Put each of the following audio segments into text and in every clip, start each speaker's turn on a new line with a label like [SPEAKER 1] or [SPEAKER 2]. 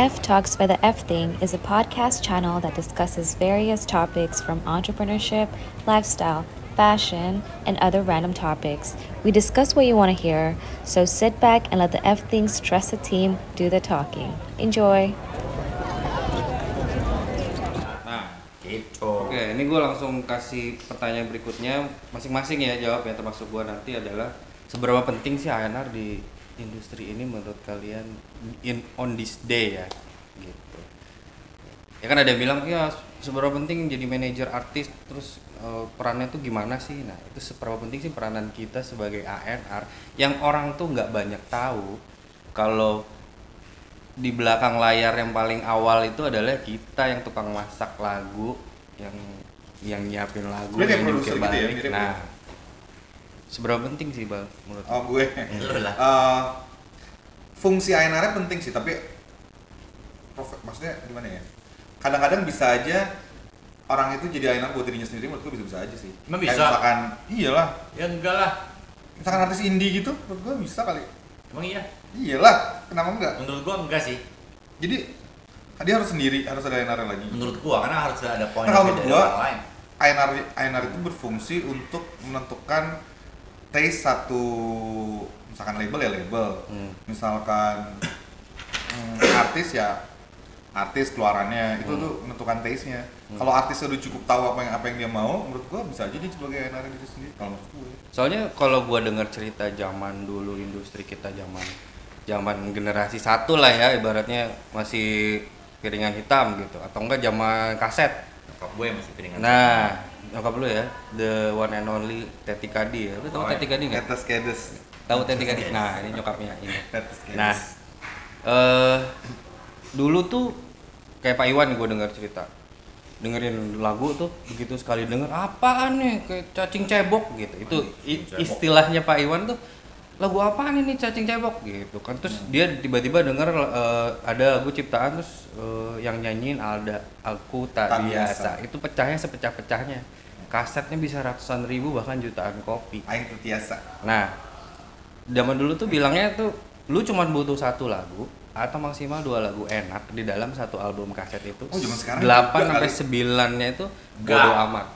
[SPEAKER 1] F Talks by the F Thing is a podcast channel that discusses various topics from entrepreneurship, lifestyle, fashion, and other random topics. We discuss what you want to hear, so sit back and let the F Thing stress the team do the talking. Enjoy!
[SPEAKER 2] Nah,
[SPEAKER 3] gitu
[SPEAKER 2] oke, ini gue langsung kasih pertanyaan berikutnya masing-masing ya jawab ya termasuk gue nanti adalah seberapa penting sih ANR di industri ini menurut kalian in on this day ya, gitu. Ya kan ada yang bilang ya seberapa penting jadi manajer artis terus eh, perannya tuh gimana sih? Nah itu seberapa penting sih peranan kita sebagai ANR yang orang tuh nggak banyak tahu kalau di belakang layar yang paling awal itu adalah kita yang tukang masak lagu yang yang nyiapin lagu
[SPEAKER 3] Lu kayak
[SPEAKER 2] yang
[SPEAKER 3] produser gitu ya,
[SPEAKER 2] balik.
[SPEAKER 3] mirip
[SPEAKER 2] nah
[SPEAKER 3] ya?
[SPEAKER 2] seberapa penting sih bang menurut
[SPEAKER 3] oh gue
[SPEAKER 4] Lu lah.
[SPEAKER 3] Eh, fungsi ANR -nya penting sih tapi prof- maksudnya gimana ya kadang-kadang bisa aja orang itu jadi ANR buat dirinya sendiri menurut gue bisa-bisa aja sih
[SPEAKER 4] Emang
[SPEAKER 3] Kayak
[SPEAKER 4] bisa?
[SPEAKER 3] misalkan iyalah
[SPEAKER 4] Ya enggak lah.
[SPEAKER 3] misalkan artis indie gitu menurut gue bisa kali
[SPEAKER 4] Emang iya?
[SPEAKER 3] iyalah kenapa enggak
[SPEAKER 4] Menurut gua enggak sih.
[SPEAKER 3] jadi dia harus sendiri harus ada ANR -nya lagi
[SPEAKER 4] Menurut gua karena harus ada poin
[SPEAKER 3] Nah, kalau menurut gua,
[SPEAKER 4] orang lain.
[SPEAKER 3] INR, INR itu berfungsi untuk menentukan taste satu misalkan label ya label
[SPEAKER 2] Hmm.
[SPEAKER 3] misalkan mm, artis ya artis keluarannya itu tuh menentukan taste nya kalau artis udah cukup tahu apa yang apa yang dia mau menurut gua bisa aja dia sebagai INR itu sendiri kalau menurut gue
[SPEAKER 2] soalnya kalau gua dengar cerita zaman dulu industri kita zaman zaman generasi satu lah ya ibaratnya masih piringan hitam gitu atau enggak zaman kaset
[SPEAKER 4] Nyokap gue yang masih piringan.
[SPEAKER 2] nah nyokap lu ya the one and only Teti Kadi ya lu
[SPEAKER 4] Oh,
[SPEAKER 2] tau Teti Kadi nggak
[SPEAKER 3] Ketes kedes
[SPEAKER 2] tahu Teti Kadi nah ini nyokapnya ini
[SPEAKER 3] Ketes kedes
[SPEAKER 2] Nah, eh dulu tuh kayak Pak Iwan gue dengar cerita, dengerin lagu tuh begitu sekali denger apaan nih kayak cacing cebok gitu. Itu i-
[SPEAKER 4] cebok.
[SPEAKER 2] istilahnya Pak Iwan tuh lagu apaan ini cacing cebok gitu kan. Terus dia tiba-tiba denger eh, ada lagu ciptaan terus eh, yang nyanyiin Alda aku tak
[SPEAKER 3] Tak
[SPEAKER 2] biasa.
[SPEAKER 3] biasa.
[SPEAKER 2] Itu pecahnya sepecah-pecahnya. Kasetnya bisa ratusan ribu bahkan jutaan kopi.
[SPEAKER 3] Aing terbiasa
[SPEAKER 2] Nah, zaman dulu tuh bilangnya tuh lu cuman butuh satu lagu atau maksimal dua lagu enak di dalam satu album kaset itu.
[SPEAKER 3] Oh, zaman sekarang
[SPEAKER 2] Delapan
[SPEAKER 3] juga
[SPEAKER 2] sampai
[SPEAKER 3] kali.
[SPEAKER 2] sembilannya itu
[SPEAKER 4] Enggak.
[SPEAKER 2] bodo amat.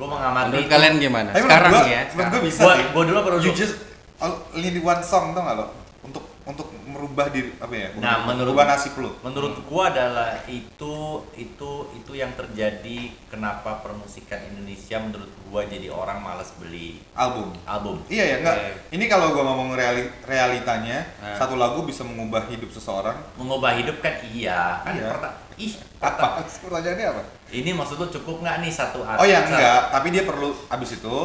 [SPEAKER 4] Gua mengamati.
[SPEAKER 2] Menurut kalian gimana?
[SPEAKER 3] Tapi menurut
[SPEAKER 2] sekarang
[SPEAKER 3] gua-
[SPEAKER 2] ya.
[SPEAKER 3] menurut gua
[SPEAKER 2] sekarang.
[SPEAKER 3] bisa
[SPEAKER 4] Gua-
[SPEAKER 3] sih
[SPEAKER 4] gua dulu apa lu
[SPEAKER 3] you
[SPEAKER 4] dulu?
[SPEAKER 3] just all- only need Oh, one song tau gak lo untuk untuk merubah diri apa ya
[SPEAKER 4] Nah, menurut
[SPEAKER 3] merubah nasib lo
[SPEAKER 4] Menurut gua adalah itu itu itu yang terjadi kenapa permusikan Indonesia menurut gua jadi orang malas beli
[SPEAKER 3] album
[SPEAKER 4] album.
[SPEAKER 3] Iya ya, enggak.
[SPEAKER 4] Kayak
[SPEAKER 3] Ini kalau gua ngomong reali- realitanya,
[SPEAKER 2] Eh.
[SPEAKER 3] satu lagu bisa mengubah hidup seseorang.
[SPEAKER 4] Mengubah hidup kan iya, kan
[SPEAKER 3] Iya.
[SPEAKER 4] perta- ih, perta-
[SPEAKER 3] Apa? Pertanyaannya apa?
[SPEAKER 4] ini maksud lu cukup nggak nih satu artis?
[SPEAKER 3] Oh ya enggak, tapi dia perlu abis itu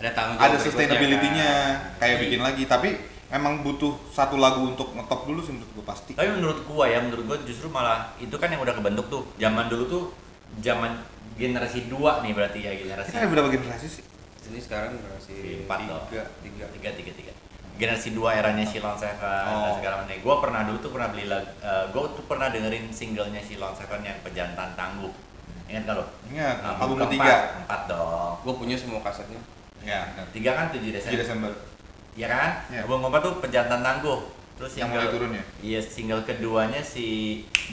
[SPEAKER 2] ada tanggung
[SPEAKER 4] ya
[SPEAKER 2] jawab
[SPEAKER 3] ada
[SPEAKER 2] berikutnya,
[SPEAKER 3] sustainability-nya,
[SPEAKER 2] kan?
[SPEAKER 3] kayak
[SPEAKER 4] Iya.
[SPEAKER 3] bikin lagi. Tapi emang butuh satu lagu untuk ngetop dulu sih menurut gua pasti.
[SPEAKER 4] Tapi menurut gua ya, menurut gua justru malah itu kan yang udah kebentuk tuh. Zaman dulu tuh zaman generasi 2 nih berarti ya generasi
[SPEAKER 3] Kita ada berapa generasi sih?
[SPEAKER 2] Ini sekarang generasi
[SPEAKER 4] Empat loh.
[SPEAKER 2] tiga, tiga.
[SPEAKER 4] tiga tiga tiga generasi dua eranya Shilon Seven dan
[SPEAKER 3] Oh.
[SPEAKER 4] segala macam. Gue pernah dulu tuh pernah beli lagu, gue tuh pernah dengerin singlenya Shilon Seven yang pejantan tangguh. Ingat kalau?
[SPEAKER 3] Ingat, Iya. album
[SPEAKER 4] Ah, keempat.
[SPEAKER 3] ketiga.
[SPEAKER 4] Empat dong.
[SPEAKER 2] Gue punya semua kasetnya.
[SPEAKER 3] Ya, benar.
[SPEAKER 4] Tiga kan tujuh
[SPEAKER 3] 7
[SPEAKER 4] Desember.
[SPEAKER 3] Desember.
[SPEAKER 4] Iya kan?
[SPEAKER 3] Iya.
[SPEAKER 4] Album keempat tuh pejantan tangguh. Terus
[SPEAKER 3] Yang
[SPEAKER 4] single-
[SPEAKER 3] mulai turun ya?
[SPEAKER 4] Iya single keduanya si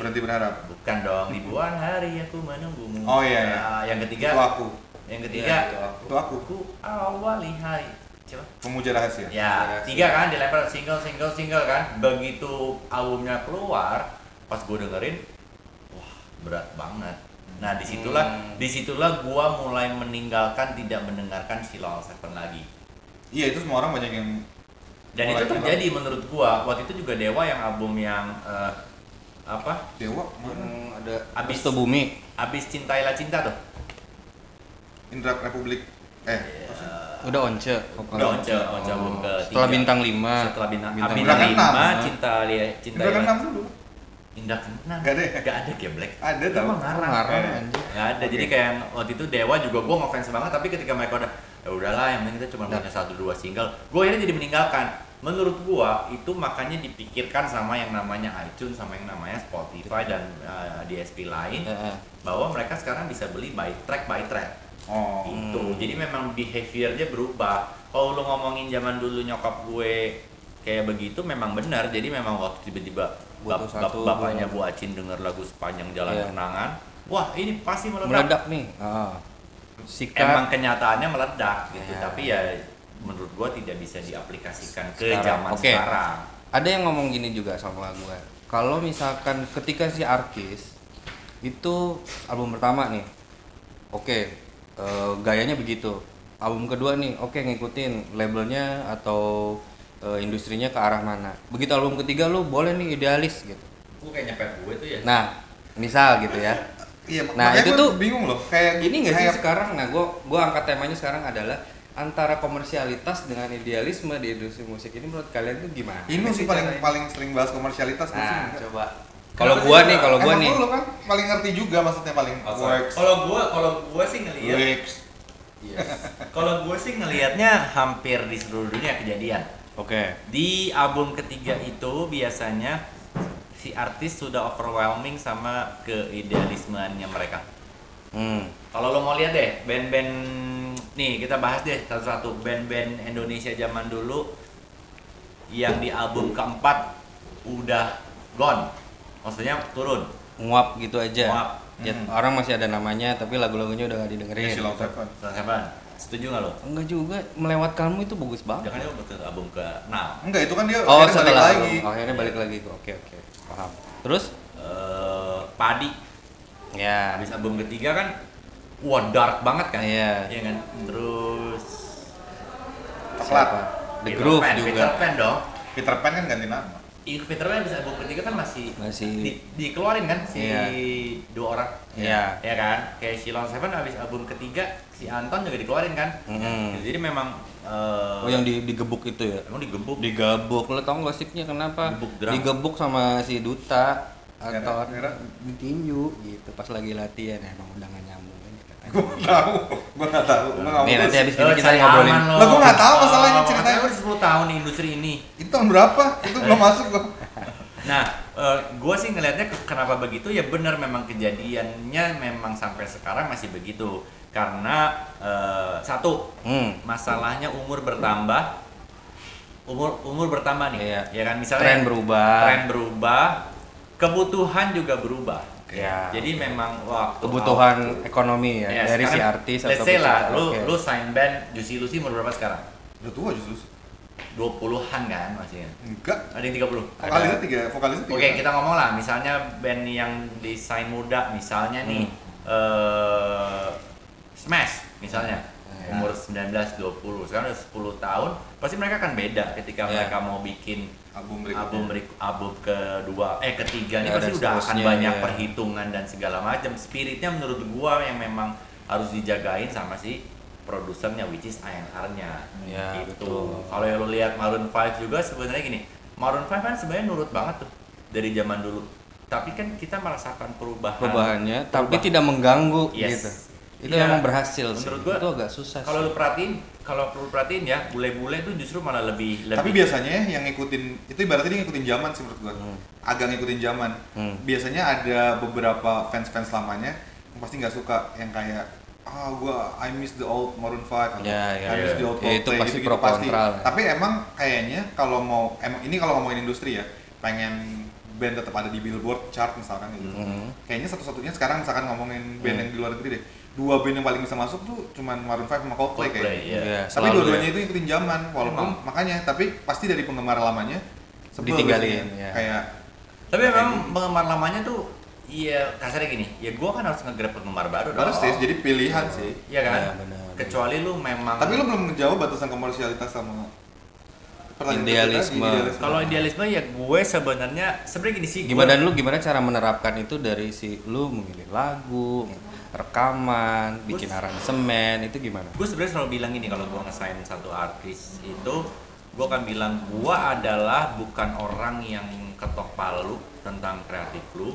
[SPEAKER 3] Berhenti berharap.
[SPEAKER 4] bukan dong ribuan hari aku menunggumu.
[SPEAKER 3] Oh, iya, iya.
[SPEAKER 4] Nah, yang
[SPEAKER 3] Itu
[SPEAKER 4] ketiga,
[SPEAKER 3] aku.
[SPEAKER 4] yang
[SPEAKER 2] Iya, itu
[SPEAKER 4] ketiga,
[SPEAKER 2] aku.
[SPEAKER 3] Itu aku.
[SPEAKER 4] aku awali hari. Coba.
[SPEAKER 3] Pemuja rahasia.
[SPEAKER 4] Ya, tiga kan dilempar single single single kan. Begitu albumnya keluar, pas gue dengerin, wah berat banget. Nah disitulah
[SPEAKER 2] Hmm.
[SPEAKER 4] disitulah gue mulai meninggalkan tidak mendengarkan Silong Seven lagi.
[SPEAKER 3] Iya, itu semua orang banyak yang
[SPEAKER 4] Dan itu
[SPEAKER 3] Mulai
[SPEAKER 4] terjadi menurut gue. Waktu itu juga Dewa yang album yang eh, apa?
[SPEAKER 3] Dewa,
[SPEAKER 2] Yang
[SPEAKER 3] mana?
[SPEAKER 2] Hmm, ada
[SPEAKER 4] Abis.
[SPEAKER 2] Restu Bumi.
[SPEAKER 4] Abis cintailah cinta tuh.
[SPEAKER 3] Indra Republik. Eh,
[SPEAKER 2] Udah once.
[SPEAKER 4] Udah once, once album
[SPEAKER 2] Oh.
[SPEAKER 4] ketiga.
[SPEAKER 2] Setelah bintang lima.
[SPEAKER 4] Setelah bintang,
[SPEAKER 2] Bintang
[SPEAKER 4] bintang,
[SPEAKER 3] Ah, Bintang
[SPEAKER 4] lima,
[SPEAKER 3] enam.
[SPEAKER 4] cinta Lia- cinta
[SPEAKER 3] Indra kan
[SPEAKER 4] Lia-
[SPEAKER 3] enam dulu.
[SPEAKER 4] Indah keenam.
[SPEAKER 3] Nggak ada ya?
[SPEAKER 4] Nggak ada geblek.
[SPEAKER 3] Ada
[SPEAKER 4] Itu
[SPEAKER 3] tau.
[SPEAKER 4] mah ngarang.
[SPEAKER 2] Ngarang,
[SPEAKER 3] Eh.
[SPEAKER 2] anjing.
[SPEAKER 4] Nggak Ya ada. Jadi kayak yang waktu itu Dewa juga gue ngefans banget tapi ketika mereka udah ya udahlah yang penting kita cuma
[SPEAKER 2] Nah.
[SPEAKER 4] punya satu dua single. Gue akhirnya jadi meninggalkan. Menurut gua itu makanya dipikirkan sama yang namanya iTunes sama yang namanya Spotify dan eh, DSP lain
[SPEAKER 3] Eh.
[SPEAKER 2] Heeh.
[SPEAKER 4] bahwa mereka sekarang bisa beli by track by track
[SPEAKER 3] Oh.
[SPEAKER 4] gitu
[SPEAKER 2] Hmm.
[SPEAKER 4] jadi memang behaviornya berubah kalau lu ngomongin zaman dulu nyokap gue kayak begitu memang benar jadi memang waktu tiba-tiba bap-
[SPEAKER 2] Butuh
[SPEAKER 4] bap-
[SPEAKER 2] satu,
[SPEAKER 4] bapaknya Bu Acin denger lagu sepanjang jalan
[SPEAKER 2] Iya.
[SPEAKER 4] kenangan wah ini pasti meledak
[SPEAKER 2] meledak nih ah. sikat
[SPEAKER 4] emang kenyataannya meledak gitu
[SPEAKER 2] Iya.
[SPEAKER 4] tapi ya menurut gua tidak bisa diaplikasikan ke
[SPEAKER 2] Sekarang,
[SPEAKER 4] zaman
[SPEAKER 2] oke.
[SPEAKER 4] sekarang
[SPEAKER 2] ada yang ngomong gini juga sama gue kalau misalkan ketika si artis itu album pertama nih oke eh, gayanya begitu album kedua nih oke ngikutin labelnya atau eh, industrinya ke arah mana begitu album ketiga lu boleh nih idealis gitu
[SPEAKER 4] gua kayak nyepet gue tuh ya
[SPEAKER 2] nah misal gitu ya
[SPEAKER 3] Iya,
[SPEAKER 2] Nah,
[SPEAKER 3] makanya
[SPEAKER 2] itu
[SPEAKER 3] gua
[SPEAKER 2] tuh-
[SPEAKER 3] bingung loh. Kayak
[SPEAKER 2] ini nggak sih
[SPEAKER 3] Eh, kayak
[SPEAKER 2] sekarang nah gue gua angkat temanya sekarang adalah antara komersialitas dengan idealisme di industri musik ini menurut kalian tuh gimana
[SPEAKER 3] ini sih paling
[SPEAKER 2] caranya?
[SPEAKER 3] paling sering bahas komersialitas gua sih.
[SPEAKER 2] Nah, coba. Kalau gua nih, kalau gua
[SPEAKER 3] Emang
[SPEAKER 2] nih.
[SPEAKER 3] lu kan paling ngerti juga maksudnya paling works.
[SPEAKER 4] kalau gua kalau gua sih ngelihat
[SPEAKER 3] Works.
[SPEAKER 4] kalau gua sih ngelihatnya hampir di seluruh dunia kejadian
[SPEAKER 2] Oke.
[SPEAKER 4] Di album ketiga itu biasanya si artis sudah overwhelming sama keidealismeannya mereka.
[SPEAKER 2] Hmm.
[SPEAKER 4] Kalau lo mau lihat deh, band-band nih kita bahas deh satu-satu band-band Indonesia zaman dulu yang di album keempat udah gone, maksudnya turun.
[SPEAKER 2] Nguap gitu aja.
[SPEAKER 4] Nguap.
[SPEAKER 2] Ya,
[SPEAKER 3] Hmm.
[SPEAKER 2] Orang masih ada namanya, tapi lagu-lagunya udah gak didengerin.
[SPEAKER 3] Casey
[SPEAKER 2] gitu.
[SPEAKER 3] Lovett kan.
[SPEAKER 4] Seven, setuju nggak lo?
[SPEAKER 2] Enggak juga, melewat kamu itu bagus banget.
[SPEAKER 4] Jangan ya betul album ke enam.
[SPEAKER 3] Enggak, itu kan dia
[SPEAKER 2] Oh,
[SPEAKER 3] akhirnya balik
[SPEAKER 2] setelah album.
[SPEAKER 3] lagi.
[SPEAKER 2] Oh, akhirnya balik lagi. Oke, oke. Paham. Terus?
[SPEAKER 4] Eh, padi
[SPEAKER 2] Ya.
[SPEAKER 4] habis album ketiga kan, wah dark banget kan?
[SPEAKER 2] Iya.
[SPEAKER 4] Iya kan. Terus
[SPEAKER 3] Coklat.
[SPEAKER 2] Siapa? The
[SPEAKER 4] Peter
[SPEAKER 2] Groove
[SPEAKER 4] Pan,
[SPEAKER 2] juga.
[SPEAKER 4] Peter Pan dong.
[SPEAKER 3] Peter Pan kan ganti nama.
[SPEAKER 4] Ih, Peter Pan Iya, bisa album ketiga kan masih,
[SPEAKER 2] Masih.
[SPEAKER 4] di- dikeluarin kan si
[SPEAKER 2] Iya.
[SPEAKER 4] dua orang.
[SPEAKER 2] Iya.
[SPEAKER 4] Ya kan? Kayak Shilon Seven abis album ketiga si Anton juga dikeluarin kan.
[SPEAKER 2] Mm-mm.
[SPEAKER 4] Jadi memang eh,
[SPEAKER 2] Oh, yang di, digebuk itu ya.
[SPEAKER 4] emang digebuk.
[SPEAKER 2] Digabuk. Lo tau gosipnya kenapa?
[SPEAKER 4] Gebuk drum.
[SPEAKER 2] Digebuk sama si Duta atau
[SPEAKER 3] Gara-gara-
[SPEAKER 2] ditinju gitu pas lagi latihan emang udah gak nyambung katanya.
[SPEAKER 3] Gua tahu, gua enggak tahu. Gua nggak
[SPEAKER 2] Nih,
[SPEAKER 3] mau.
[SPEAKER 2] nanti habis
[SPEAKER 4] Eh,
[SPEAKER 2] ini kita
[SPEAKER 4] cari
[SPEAKER 2] ngobrolin.
[SPEAKER 4] aman lo.
[SPEAKER 3] Lah, gua nggak tahu masalahnya
[SPEAKER 4] Oh,
[SPEAKER 3] ceritanya.
[SPEAKER 4] makanya udah 10 tahun di industri ini.
[SPEAKER 3] Itu tahun berapa? Itu belum masuk gua.
[SPEAKER 4] Nah, gue sih ngelihatnya ke- kenapa begitu ya benar memang kejadiannya memang sampai sekarang masih begitu karena eh, satu
[SPEAKER 2] Hmm.
[SPEAKER 4] masalahnya umur bertambah umur umur bertambah nih
[SPEAKER 2] Iya.
[SPEAKER 4] ya kan misalnya
[SPEAKER 2] Tren berubah.
[SPEAKER 4] tren berubah kebutuhan juga berubah
[SPEAKER 2] Ya.
[SPEAKER 4] jadi memang waktu
[SPEAKER 2] kebutuhan ekonomi ya,
[SPEAKER 4] Ya,
[SPEAKER 2] dari si
[SPEAKER 4] sekarang,
[SPEAKER 2] artis
[SPEAKER 4] let's
[SPEAKER 2] atau
[SPEAKER 4] say lah
[SPEAKER 2] pencipta.
[SPEAKER 4] lu
[SPEAKER 2] Oke.
[SPEAKER 4] lu sign band Juicy Lucy umur berapa sekarang
[SPEAKER 3] Udah tua justru.
[SPEAKER 4] 20-an kan maksudnya
[SPEAKER 3] Enggak.
[SPEAKER 4] ada yang 30
[SPEAKER 3] Vokalisnya tiga, vokalisnya tiga.
[SPEAKER 4] Oke kita ngomong lah, misalnya band yang desain muda, misalnya nih eh, Smash misalnya
[SPEAKER 2] Ya.
[SPEAKER 4] umur 19-20 sekarang udah 10 tahun, pasti mereka akan beda ketika
[SPEAKER 2] Ya.
[SPEAKER 4] mereka mau bikin
[SPEAKER 3] album berikutnya.
[SPEAKER 4] album berik- album kedua eh ketiga ini
[SPEAKER 2] Ya,
[SPEAKER 4] pasti
[SPEAKER 2] dan
[SPEAKER 4] udah akan
[SPEAKER 2] seterusnya,
[SPEAKER 4] banyak
[SPEAKER 2] ya.
[SPEAKER 4] perhitungan dan segala macam spiritnya menurut gua yang memang harus dijagain sama si produsernya which is A&R-nya
[SPEAKER 2] Ya, betul.
[SPEAKER 4] gitu kalau yang lo lihat Maroon 5 juga sebenarnya gini Maroon 5 kan sebenarnya nurut banget tuh dari zaman dulu tapi kan kita merasakan perubahan
[SPEAKER 2] perubahannya tapi
[SPEAKER 4] Perubahan.
[SPEAKER 2] tidak mengganggu
[SPEAKER 4] Yes.
[SPEAKER 2] gitu. Itu
[SPEAKER 4] Iya.
[SPEAKER 2] memang berhasil sih.
[SPEAKER 4] Menurut gua,
[SPEAKER 2] itu agak susah.
[SPEAKER 4] kalau
[SPEAKER 2] sih.
[SPEAKER 4] lo perhatiin kalau perlu perhatiin ya bule-bule tuh justru malah lebih lebih
[SPEAKER 3] Tapi biasanya yang ngikutin itu ibaratnya dia ngikutin zaman sih menurut gua. Agak ngikutin zaman.
[SPEAKER 2] Hmm.
[SPEAKER 3] Biasanya ada beberapa fans-fans lamanya yang pasti nggak suka yang kayak ah gua I miss the old Maroon 5 atau
[SPEAKER 2] Ya, ya,
[SPEAKER 3] I
[SPEAKER 4] ya.
[SPEAKER 3] miss the old
[SPEAKER 2] Ya, itu
[SPEAKER 3] Coldplay,"
[SPEAKER 2] pasti
[SPEAKER 3] gitu-gitu
[SPEAKER 2] pro kontra lah.
[SPEAKER 3] Tapi emang kayaknya kalau mau emang ini kalau ngomongin industri ya, pengen band tetap ada di Billboard chart misalkan gitu.
[SPEAKER 2] Hmm.
[SPEAKER 3] Kayaknya satu-satunya sekarang misalkan ngomongin band yang di luar negeri deh. Dua band yang paling bisa masuk tuh cuman Maroon 5 sama Coldplay,
[SPEAKER 4] Coldplay,
[SPEAKER 3] kayaknya.
[SPEAKER 4] ya.
[SPEAKER 2] Iya,
[SPEAKER 3] Tapi
[SPEAKER 2] selalu
[SPEAKER 3] dua-duanya
[SPEAKER 2] ya.
[SPEAKER 3] itu ikutin zaman walaupun
[SPEAKER 4] Emang.
[SPEAKER 3] makanya tapi pasti dari penggemar lamanya sebel
[SPEAKER 2] Ditinggalin,
[SPEAKER 3] biasanya.
[SPEAKER 2] ya.
[SPEAKER 3] kayak
[SPEAKER 4] Tapi memang penggemar lamanya tuh Iya, kasarnya gini, ya gua kan harus nge-grab penggemar baru dong.
[SPEAKER 3] baru sih jadi pilihan sih
[SPEAKER 4] Iya kan?
[SPEAKER 2] Iya, benar.
[SPEAKER 4] Kecuali lu memang
[SPEAKER 3] tapi lu belum menjawab batasan komersialitas sama pertanyaan tadi,
[SPEAKER 2] Idealisme.
[SPEAKER 4] kalau idealisme ya gue sebenarnya sebenarnya gini sih. gue-
[SPEAKER 2] Gimana dan lu gimana cara menerapkan itu dari si lu memilih lagu, rekaman, bikin
[SPEAKER 4] Gua-
[SPEAKER 2] aransemen, itu gimana?
[SPEAKER 4] gue sebenarnya selalu bilang gini kalau gue ngesain satu artis itu gue akan bilang gue adalah bukan orang yang ketok palu tentang kreatif lu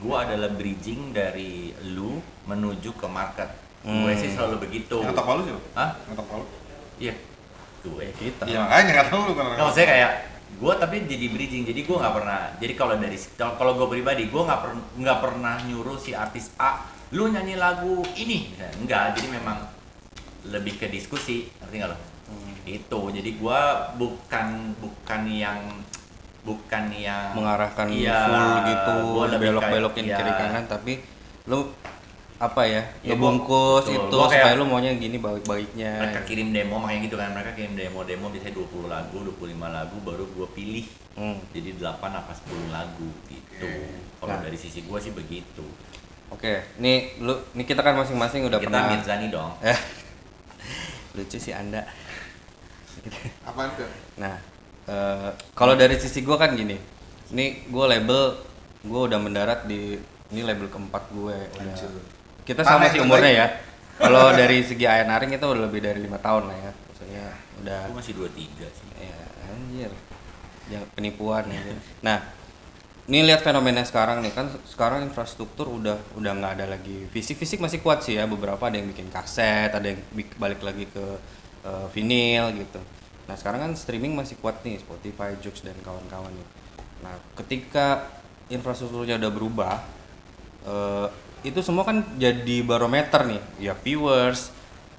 [SPEAKER 4] gue adalah bridging dari lu menuju ke market gue sih selalu begitu
[SPEAKER 3] Hmm. yang ngetok palu sih lu?
[SPEAKER 4] Hah?
[SPEAKER 3] ngetok palu
[SPEAKER 4] iya gue
[SPEAKER 2] Kita.
[SPEAKER 3] iya makanya nggak tahu lu kan
[SPEAKER 4] Nggak, maksudnya kayak gue tapi jadi bridging jadi gue nggak pernah jadi kalau dari kalau kalau gue pribadi gue nggak per- nggak pernah nyuruh si artis A lu nyanyi lagu ini Misalnya. nggak jadi memang lebih ke diskusi ngerti nggak lo
[SPEAKER 2] Hmm.
[SPEAKER 4] itu jadi gua bukan bukan yang bukan yang
[SPEAKER 2] mengarahkan
[SPEAKER 4] Iya,
[SPEAKER 2] full gitu
[SPEAKER 4] gua lebih
[SPEAKER 2] belok-belokin
[SPEAKER 4] kayak-
[SPEAKER 2] kiri
[SPEAKER 4] iya.
[SPEAKER 2] kanan tapi lu apa ya,
[SPEAKER 4] Ya,
[SPEAKER 2] lu
[SPEAKER 4] gua-
[SPEAKER 2] bungkus
[SPEAKER 4] betul.
[SPEAKER 2] itu
[SPEAKER 4] Gua kayak-
[SPEAKER 2] supaya lu maunya gini baik-baiknya
[SPEAKER 4] mereka kirim demo makanya gitu kan mereka kirim demo demo biasanya 20 lagu 25 lagu baru gua pilih
[SPEAKER 2] Hmm.
[SPEAKER 4] jadi 8 apa 10 lagu gitu kalau dari sisi gua sih begitu
[SPEAKER 2] Oke, nih lu nih kita kan masing-masing udah
[SPEAKER 4] kita
[SPEAKER 2] pernah
[SPEAKER 4] Mirzani dong
[SPEAKER 2] Eh, lucu sih anda
[SPEAKER 3] Apaan tuh?
[SPEAKER 2] nah eh, kalau dari sisi gue kan gini ini gue label gue udah mendarat di ini label keempat gue udah.
[SPEAKER 3] Anjir.
[SPEAKER 2] kita sama
[SPEAKER 3] Mana
[SPEAKER 2] sih
[SPEAKER 3] yang
[SPEAKER 2] umurnya
[SPEAKER 3] terbaik?
[SPEAKER 2] ya kalau dari segi ayanaring kita udah lebih dari lima tahun lah ya maksudnya udah
[SPEAKER 4] gua masih 23 sih
[SPEAKER 2] ya anjir ya, penipuan ya. nah ini lihat fenomena sekarang nih kan sekarang infrastruktur udah udah nggak ada lagi fisik fisik masih kuat sih ya beberapa ada yang bikin kaset ada yang bik- balik lagi ke eh, vinil gitu nah sekarang kan streaming masih kuat nih Spotify, Joox dan kawan-kawan nih nah ketika infrastrukturnya udah berubah eh, itu semua kan jadi barometer nih ya viewers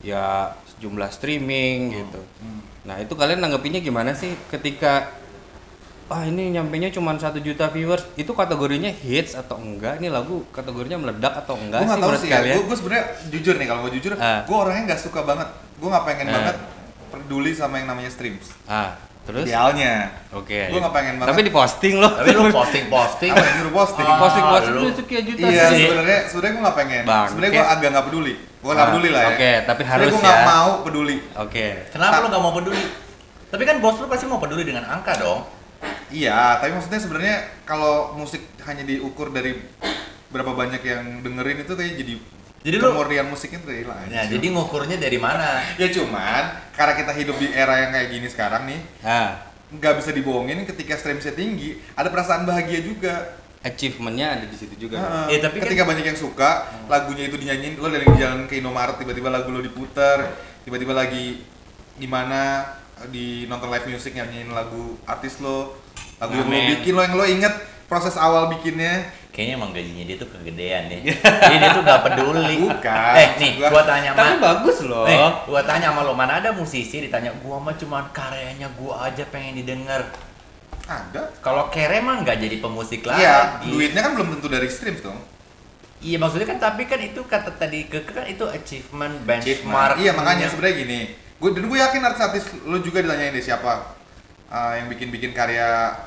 [SPEAKER 2] ya jumlah streaming gitu nah itu kalian nanggepinnya gimana sih ketika ah ini nyampainya cuma satu juta viewers itu kategorinya hits atau enggak ini lagu kategorinya meledak atau enggak
[SPEAKER 3] gue
[SPEAKER 2] sih
[SPEAKER 3] nggak tahu
[SPEAKER 2] menurut
[SPEAKER 3] sih ya.
[SPEAKER 2] kalian
[SPEAKER 3] Gue gue sebenarnya jujur nih kalau gue jujur,
[SPEAKER 2] Ah.
[SPEAKER 3] gue orangnya nggak suka banget. Gue nggak pengen
[SPEAKER 2] Ah.
[SPEAKER 3] banget peduli sama yang namanya streams.
[SPEAKER 2] ah terus
[SPEAKER 3] Idealnya.
[SPEAKER 2] oke
[SPEAKER 3] Gue Iya. nggak pengen banget.
[SPEAKER 2] tapi di posting loh
[SPEAKER 4] tapi lu posting posting
[SPEAKER 3] apa yang nyuruh posting?
[SPEAKER 4] Ah,
[SPEAKER 2] posting posting
[SPEAKER 4] lu.
[SPEAKER 2] lu sekian juta
[SPEAKER 3] Iya,
[SPEAKER 2] sih
[SPEAKER 3] sebenarnya sebenarnya gue nggak pengen.
[SPEAKER 2] Bangke.
[SPEAKER 3] Sebenarnya gue agak nggak peduli. Gue nggak
[SPEAKER 2] Ah,
[SPEAKER 3] peduli lah ya.
[SPEAKER 2] oke, tapi
[SPEAKER 3] Sebenarnya
[SPEAKER 2] harus
[SPEAKER 3] gue nggak
[SPEAKER 2] ya.
[SPEAKER 3] mau peduli.
[SPEAKER 2] oke
[SPEAKER 4] kenapa lu nggak mau peduli tapi kan bos lu pasti mau peduli dengan angka dong
[SPEAKER 3] Iya, tapi maksudnya sebenarnya kalau musik hanya diukur dari berapa banyak yang dengerin itu kayak jadi
[SPEAKER 4] Jadi lu-
[SPEAKER 3] kemurnian musiknya tuh udah hilang.
[SPEAKER 4] nah
[SPEAKER 3] anjir.
[SPEAKER 4] jadi ngukurnya dari mana
[SPEAKER 3] ya cuman karena kita hidup di era yang kayak gini sekarang nih,
[SPEAKER 2] ah
[SPEAKER 3] nggak bisa dibohongin ketika streamsnya tinggi, ada perasaan bahagia juga.
[SPEAKER 2] achievementnya ada di situ juga
[SPEAKER 3] Heeh.
[SPEAKER 4] Eh, tapi kan-
[SPEAKER 3] ketika banyak yang suka lagunya itu dinyanyiin lo dari jalan ke Indomaret tiba-tiba lagu lo diputer tiba-tiba lagi gimana di nonton live music nyanyiin lagu artis lo lagu yang lo
[SPEAKER 2] Amin.
[SPEAKER 3] bikin lo yang lo inget proses awal bikinnya
[SPEAKER 4] kayaknya emang gajinya dia tuh kegedean ya jadi dia tuh nggak peduli
[SPEAKER 3] Bukan.
[SPEAKER 4] eh nih
[SPEAKER 3] Gua-
[SPEAKER 4] gua tanya sama
[SPEAKER 2] tapi bagus loh
[SPEAKER 3] Eh.
[SPEAKER 4] nih gua tanya sama lo mana ada musisi ditanya gua mah cuman karyanya gua aja pengen didengar
[SPEAKER 3] ada
[SPEAKER 4] kalau kere mah nggak jadi pemusik lagi
[SPEAKER 3] iya duitnya kan belum tentu dari streams dong
[SPEAKER 4] Iya, maksudnya kan tapi kan itu kata tadi keke kan itu achievement benchmark
[SPEAKER 3] iya makanya sebenarnya gini gue dan gue yakin artis-artis lo juga ditanyain deh siapa uh, yang bikin-bikin karya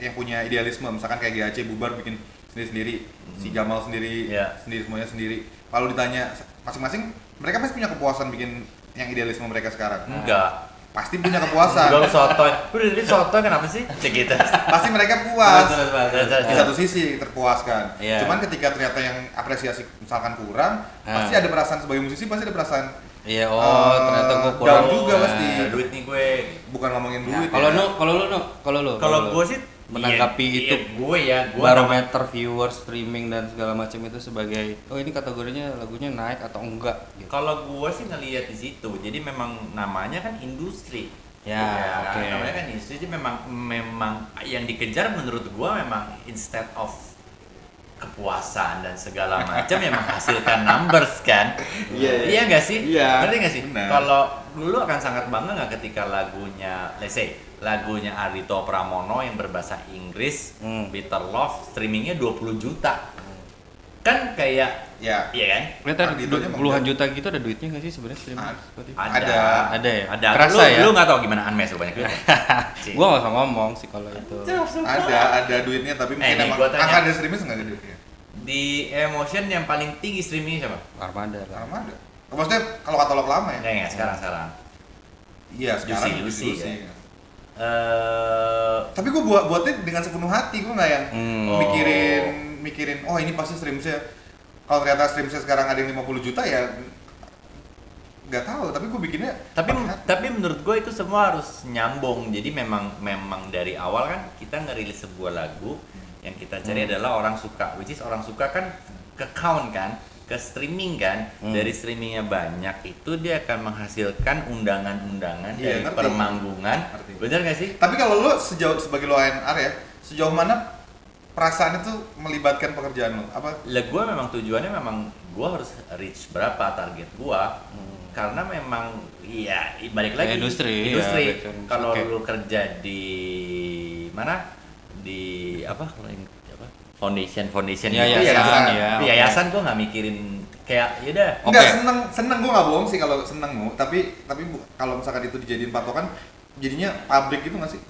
[SPEAKER 3] yang punya idealisme misalkan kayak GAC bubar bikin sendiri-sendiri si Jamal sendiri
[SPEAKER 4] Iya.
[SPEAKER 3] sendiri semuanya sendiri lalu ditanya masing-masing mereka pasti punya kepuasan bikin yang idealisme mereka sekarang
[SPEAKER 4] enggak
[SPEAKER 3] pasti punya
[SPEAKER 4] Udah
[SPEAKER 3] kepuasan
[SPEAKER 4] lu sotoy, lu dari tadi sotoy kenapa sih? Cek gitu
[SPEAKER 3] pasti
[SPEAKER 4] Terus,
[SPEAKER 3] mereka puas
[SPEAKER 4] terus, terus, terus,
[SPEAKER 3] di
[SPEAKER 4] terus.
[SPEAKER 3] satu sisi terpuaskan
[SPEAKER 4] Iya.
[SPEAKER 3] cuman ketika ternyata yang apresiasi misalkan kurang
[SPEAKER 2] Ah.
[SPEAKER 3] pasti ada perasaan sebagai musisi pasti ada perasaan
[SPEAKER 2] iya oh
[SPEAKER 3] Eh,
[SPEAKER 2] ternyata gue
[SPEAKER 3] down
[SPEAKER 2] kurang ya.
[SPEAKER 3] juga
[SPEAKER 4] Nah,
[SPEAKER 3] pasti.
[SPEAKER 4] Duit nih gue
[SPEAKER 3] bukan ngomongin duit
[SPEAKER 2] Iya. kalau
[SPEAKER 3] ya.
[SPEAKER 2] lu kalau lu Nu, kalau lu
[SPEAKER 4] Kalau
[SPEAKER 2] lu.
[SPEAKER 4] gue sih
[SPEAKER 2] menanggapi
[SPEAKER 4] iya,
[SPEAKER 2] itu
[SPEAKER 4] iya, gue ya, gue
[SPEAKER 2] barometer viewers streaming dan segala macam itu sebagai oh ini kategorinya lagunya naik atau enggak gitu.
[SPEAKER 4] Kalau gue sih ngelihat di situ, jadi memang namanya kan industri.
[SPEAKER 2] Ya,
[SPEAKER 4] kan?
[SPEAKER 2] oke.
[SPEAKER 4] Namanya kan industri, jadi memang memang yang dikejar menurut gue memang instead of kepuasan dan segala macam yang menghasilkan numbers kan.
[SPEAKER 3] Iya, iya.
[SPEAKER 4] Iya nggak sih?
[SPEAKER 3] Iya,
[SPEAKER 4] Ngerti nggak sih?
[SPEAKER 3] benar.
[SPEAKER 4] Kalau dulu akan sangat bangga nggak ketika lagunya, let's say lagunya Arito Pramono yang berbahasa Inggris,
[SPEAKER 2] Hmm.
[SPEAKER 4] Bitter Love, streamingnya 20 juta. Kan kayak,
[SPEAKER 3] ya
[SPEAKER 4] iya kan?
[SPEAKER 2] Ini tadi
[SPEAKER 3] Ardhito aja
[SPEAKER 2] du- puluhan juta gitu ada duitnya nggak sih sebenarnya streaming?
[SPEAKER 3] Ad-
[SPEAKER 2] Spotify?
[SPEAKER 4] Ada.
[SPEAKER 3] Ada.
[SPEAKER 2] Ada ya?
[SPEAKER 4] Ada.
[SPEAKER 2] Kerasa
[SPEAKER 4] lu,
[SPEAKER 2] ya? Iya.
[SPEAKER 4] Lu nggak tahu gimana Anmes lu banyak duit. Cik.
[SPEAKER 2] Gua nggak usah ngomong sih kalau itu.
[SPEAKER 3] ada ada duitnya tapi
[SPEAKER 4] nih,
[SPEAKER 3] mungkin emang
[SPEAKER 4] Nah, gua tanya.
[SPEAKER 3] angka dari streaming nggak ada duitnya
[SPEAKER 4] Di Emotion yang paling tinggi streamingnya siapa?
[SPEAKER 2] Armada lah.
[SPEAKER 3] lama ada maksudnya kalau katalog lama ya
[SPEAKER 4] Enggak ya, sekarang sekarang.
[SPEAKER 3] iya sekarang
[SPEAKER 4] Juicy,
[SPEAKER 3] juicy,
[SPEAKER 4] juicy,
[SPEAKER 3] juicy.
[SPEAKER 4] ya. Eh,
[SPEAKER 3] tapi gue buat buatnya dengan sepenuh hati gue nggak yang
[SPEAKER 2] Hmm.
[SPEAKER 4] Oh.
[SPEAKER 3] mikirin mikirin oh ini pasti streamsnya kalau ternyata streamsnya sekarang ada yang 50 juta ya nggak tahu tapi gue bikinnya
[SPEAKER 4] tapi
[SPEAKER 3] pakai hati.
[SPEAKER 4] tapi menurut gue itu semua harus nyambung. Jadi memang memang dari awal kan kita ngerilis sebuah lagu yang kita
[SPEAKER 2] Hmm.
[SPEAKER 4] cari adalah orang suka. Which is orang suka kan ke count kan, ke streaming kan.
[SPEAKER 2] Hmm.
[SPEAKER 4] Dari streamingnya banyak itu dia akan menghasilkan undangan-undangan
[SPEAKER 3] Iya,
[SPEAKER 4] dari
[SPEAKER 3] ngerti.
[SPEAKER 4] permanggungan.
[SPEAKER 3] Ngerti.
[SPEAKER 4] Bener gak sih?
[SPEAKER 3] tapi kalau lo sejauh sebagai lo ANR ya sejauh mana perasaan itu melibatkan pekerjaan lo apa
[SPEAKER 4] Lah gue memang tujuannya memang gue harus reach berapa target gue karena memang ya i- balik lagi
[SPEAKER 2] Hmm. Industri,
[SPEAKER 4] industri.
[SPEAKER 2] ya, back to industri.
[SPEAKER 4] kalau
[SPEAKER 2] Oke.
[SPEAKER 4] lu kerja di mana di apa kalau yang- apa foundation foundation
[SPEAKER 2] Yayasan, iya,
[SPEAKER 3] ya,
[SPEAKER 4] Tapi
[SPEAKER 2] oke.
[SPEAKER 4] iya,
[SPEAKER 2] Oh.
[SPEAKER 4] yayasan gue nggak mikirin kayak ya yaudah
[SPEAKER 2] Oke.
[SPEAKER 3] Enggak, seneng, seneng gue gak bohong sih kalau seneng Mu. tapi tapi bu- kalau misalkan itu dijadiin patokan, jadinya pabrik gitu gak sih?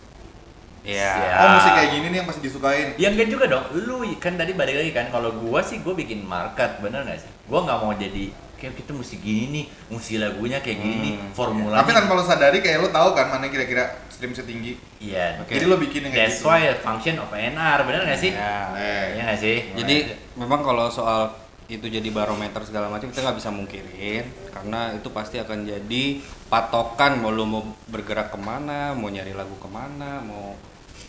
[SPEAKER 2] Iya.
[SPEAKER 4] Ya.
[SPEAKER 3] Oh musik kayak gini nih yang pasti disukain.
[SPEAKER 4] Ya enggak juga dong, lu kan tadi balik lagi kan, kalau gua sih gua bikin market, bener nggak sih? Gua nggak mau jadi kayak kita mesti gini nih, mesti lagunya kayak gini nih,
[SPEAKER 2] Hmm.
[SPEAKER 4] formulanya.
[SPEAKER 3] Tapi tanpa lo sadari kayak lo tahu kan mana yang kira-kira stream setinggi.
[SPEAKER 4] Iya.
[SPEAKER 2] Oke.
[SPEAKER 3] Jadi lo bikin yang kayak
[SPEAKER 4] That's
[SPEAKER 3] gitu.
[SPEAKER 4] why a function of NR, bener nggak sih?
[SPEAKER 2] Ya.
[SPEAKER 3] Eh,
[SPEAKER 4] Iya nggak sih?
[SPEAKER 3] Nah,
[SPEAKER 2] Jadi memang kalau soal itu jadi barometer segala macam kita nggak bisa mungkirin karena itu pasti akan jadi patokan mau lu mau bergerak kemana, mau nyari lagu kemana, mau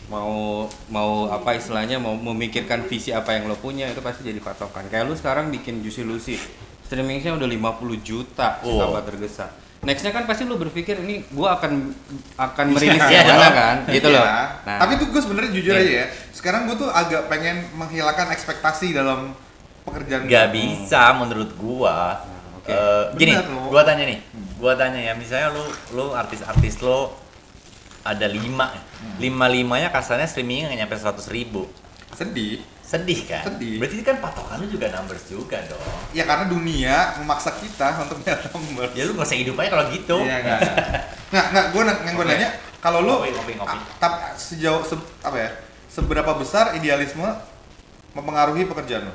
[SPEAKER 2] mau mau apa istilahnya mau memikirkan visi apa yang lo punya itu pasti jadi patokan. Kayak lu sekarang bikin Juicy Lucy streamingnya udah 50 juta
[SPEAKER 4] Oh.
[SPEAKER 2] sahabat tergesa. Nextnya kan pasti lu berpikir ini gua akan akan merilis
[SPEAKER 4] Iya.
[SPEAKER 2] kemana kan, gitu
[SPEAKER 3] Iya.
[SPEAKER 2] loh.
[SPEAKER 3] Tapi tuh gue sebenarnya jujur
[SPEAKER 2] Iya.
[SPEAKER 3] aja ya. Sekarang gue tuh agak pengen menghilangkan ekspektasi dalam pekerjaan.
[SPEAKER 4] Nggak
[SPEAKER 3] gua.
[SPEAKER 4] bisa menurut gua.
[SPEAKER 2] oke.
[SPEAKER 4] Eh, gini,
[SPEAKER 3] Nah, Bener lo.
[SPEAKER 4] gua tanya nih, gua tanya ya, misalnya lu lu artis-artis lo ada lima,
[SPEAKER 3] Hmm.
[SPEAKER 4] lima limanya kasarnya streamingnya nggak nyampe seratus ribu.
[SPEAKER 3] Sedih.
[SPEAKER 4] Sedih kan?
[SPEAKER 3] Sedih.
[SPEAKER 4] Berarti kan patokan lu juga numbers juga dong.
[SPEAKER 3] Ya karena dunia memaksa kita untuk melihat nomor.
[SPEAKER 4] Ya lu nggak usah hidup aja kalau gitu.
[SPEAKER 3] Iya enggak. Nah, enggak gua na- yang gua
[SPEAKER 4] Oke.
[SPEAKER 3] nanya kalau lu
[SPEAKER 4] Ngopi, ngopi, ngopi.
[SPEAKER 3] a- tap- sejauh se- apa ya? Seberapa besar idealisme mempengaruhi pekerjaan lu?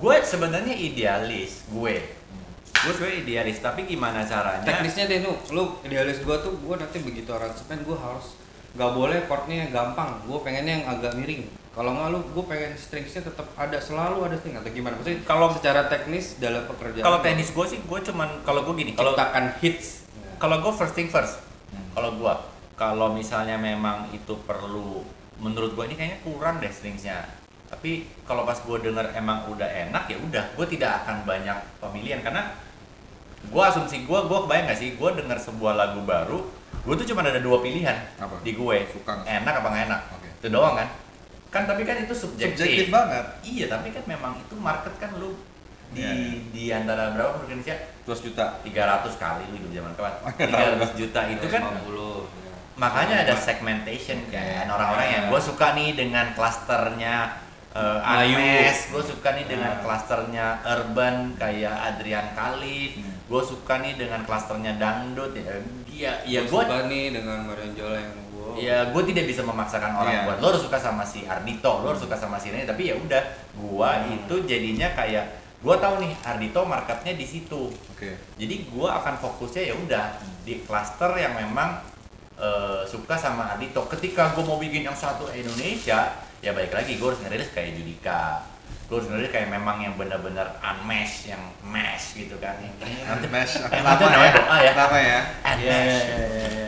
[SPEAKER 4] Gue sebenarnya idealis, gue.
[SPEAKER 3] Hmm.
[SPEAKER 4] Gue sebenarnya idealis, tapi gimana caranya?
[SPEAKER 2] teknisnya deh nu lu idealis gua tuh gua nanti begitu aransemen gua harus nggak boleh chordnya gampang gua pengennya yang agak miring kalau nggak lu gua pengen stringsnya tetap ada selalu ada string atau gimana maksudnya kalau secara teknis dalam pekerjaan
[SPEAKER 4] Kalau
[SPEAKER 2] lu
[SPEAKER 4] teknis gue sih, gue cuman kalau gue gini, kalau
[SPEAKER 2] ciptakan hits
[SPEAKER 4] kalau gue first thing first.
[SPEAKER 3] Hmm.
[SPEAKER 4] Kalau gue, kalau misalnya memang itu perlu, menurut gue ini kayaknya kurang deh stringsnya. Tapi kalau pas gue denger emang udah enak ya udah, gue tidak akan banyak pemilihan karena gue asumsi gue, gue kebayang gak sih, gue denger sebuah lagu baru, gue tuh cuma ada dua pilihan
[SPEAKER 3] Apa?
[SPEAKER 4] di gue,
[SPEAKER 3] Suka nggak?
[SPEAKER 4] enak apa nggak enak,
[SPEAKER 3] Oke.
[SPEAKER 4] itu doang kan? Kan tapi kan itu subjektif.
[SPEAKER 3] Subjektif banget.
[SPEAKER 4] Iya, tapi kan memang itu market kan lu di
[SPEAKER 3] Iya, iya.
[SPEAKER 4] di antara berapa penduduk Indonesia?
[SPEAKER 3] 12 juta.
[SPEAKER 4] 300 kali lu hidup zaman
[SPEAKER 2] Oh,
[SPEAKER 4] kapan?
[SPEAKER 2] iya.
[SPEAKER 4] 300 juta itu kan
[SPEAKER 2] 50, ya.
[SPEAKER 4] makanya ada segmentation kan
[SPEAKER 2] Iya.
[SPEAKER 4] orang-orang yang gue suka nih dengan klasternya uh,
[SPEAKER 2] Melayu. Iya.
[SPEAKER 4] Agnes, gue suka nih dengan klasternya urban kayak Adrian Khalif,
[SPEAKER 2] Iya.
[SPEAKER 4] gue suka nih dengan klasternya dangdut ya, ya, ya gue
[SPEAKER 2] Gua Iya, suka nih dengan Marion Jola yang gua
[SPEAKER 4] ya gue tidak bisa memaksakan orang
[SPEAKER 3] Iya.
[SPEAKER 4] buat lo harus suka sama si Ardito lo harus suka sama si ini tapi ya udah gue
[SPEAKER 2] Iya.
[SPEAKER 4] itu jadinya kayak gue tahu nih Ardito marketnya di situ
[SPEAKER 3] Oke.
[SPEAKER 4] jadi gue akan fokusnya ya udah di cluster yang memang eh, suka sama Ardito ketika gue mau bikin yang satu Indonesia ya balik lagi gue harus ngerilis kayak Judika gue harus ngerilis kayak memang yang benar-benar unmesh yang mesh gitu kan yang
[SPEAKER 3] Nanti
[SPEAKER 4] Eh,
[SPEAKER 3] mesh akan
[SPEAKER 4] nanti
[SPEAKER 3] lama ya.
[SPEAKER 4] namanya doa ya.
[SPEAKER 3] Lama ya.
[SPEAKER 4] unmesh iya.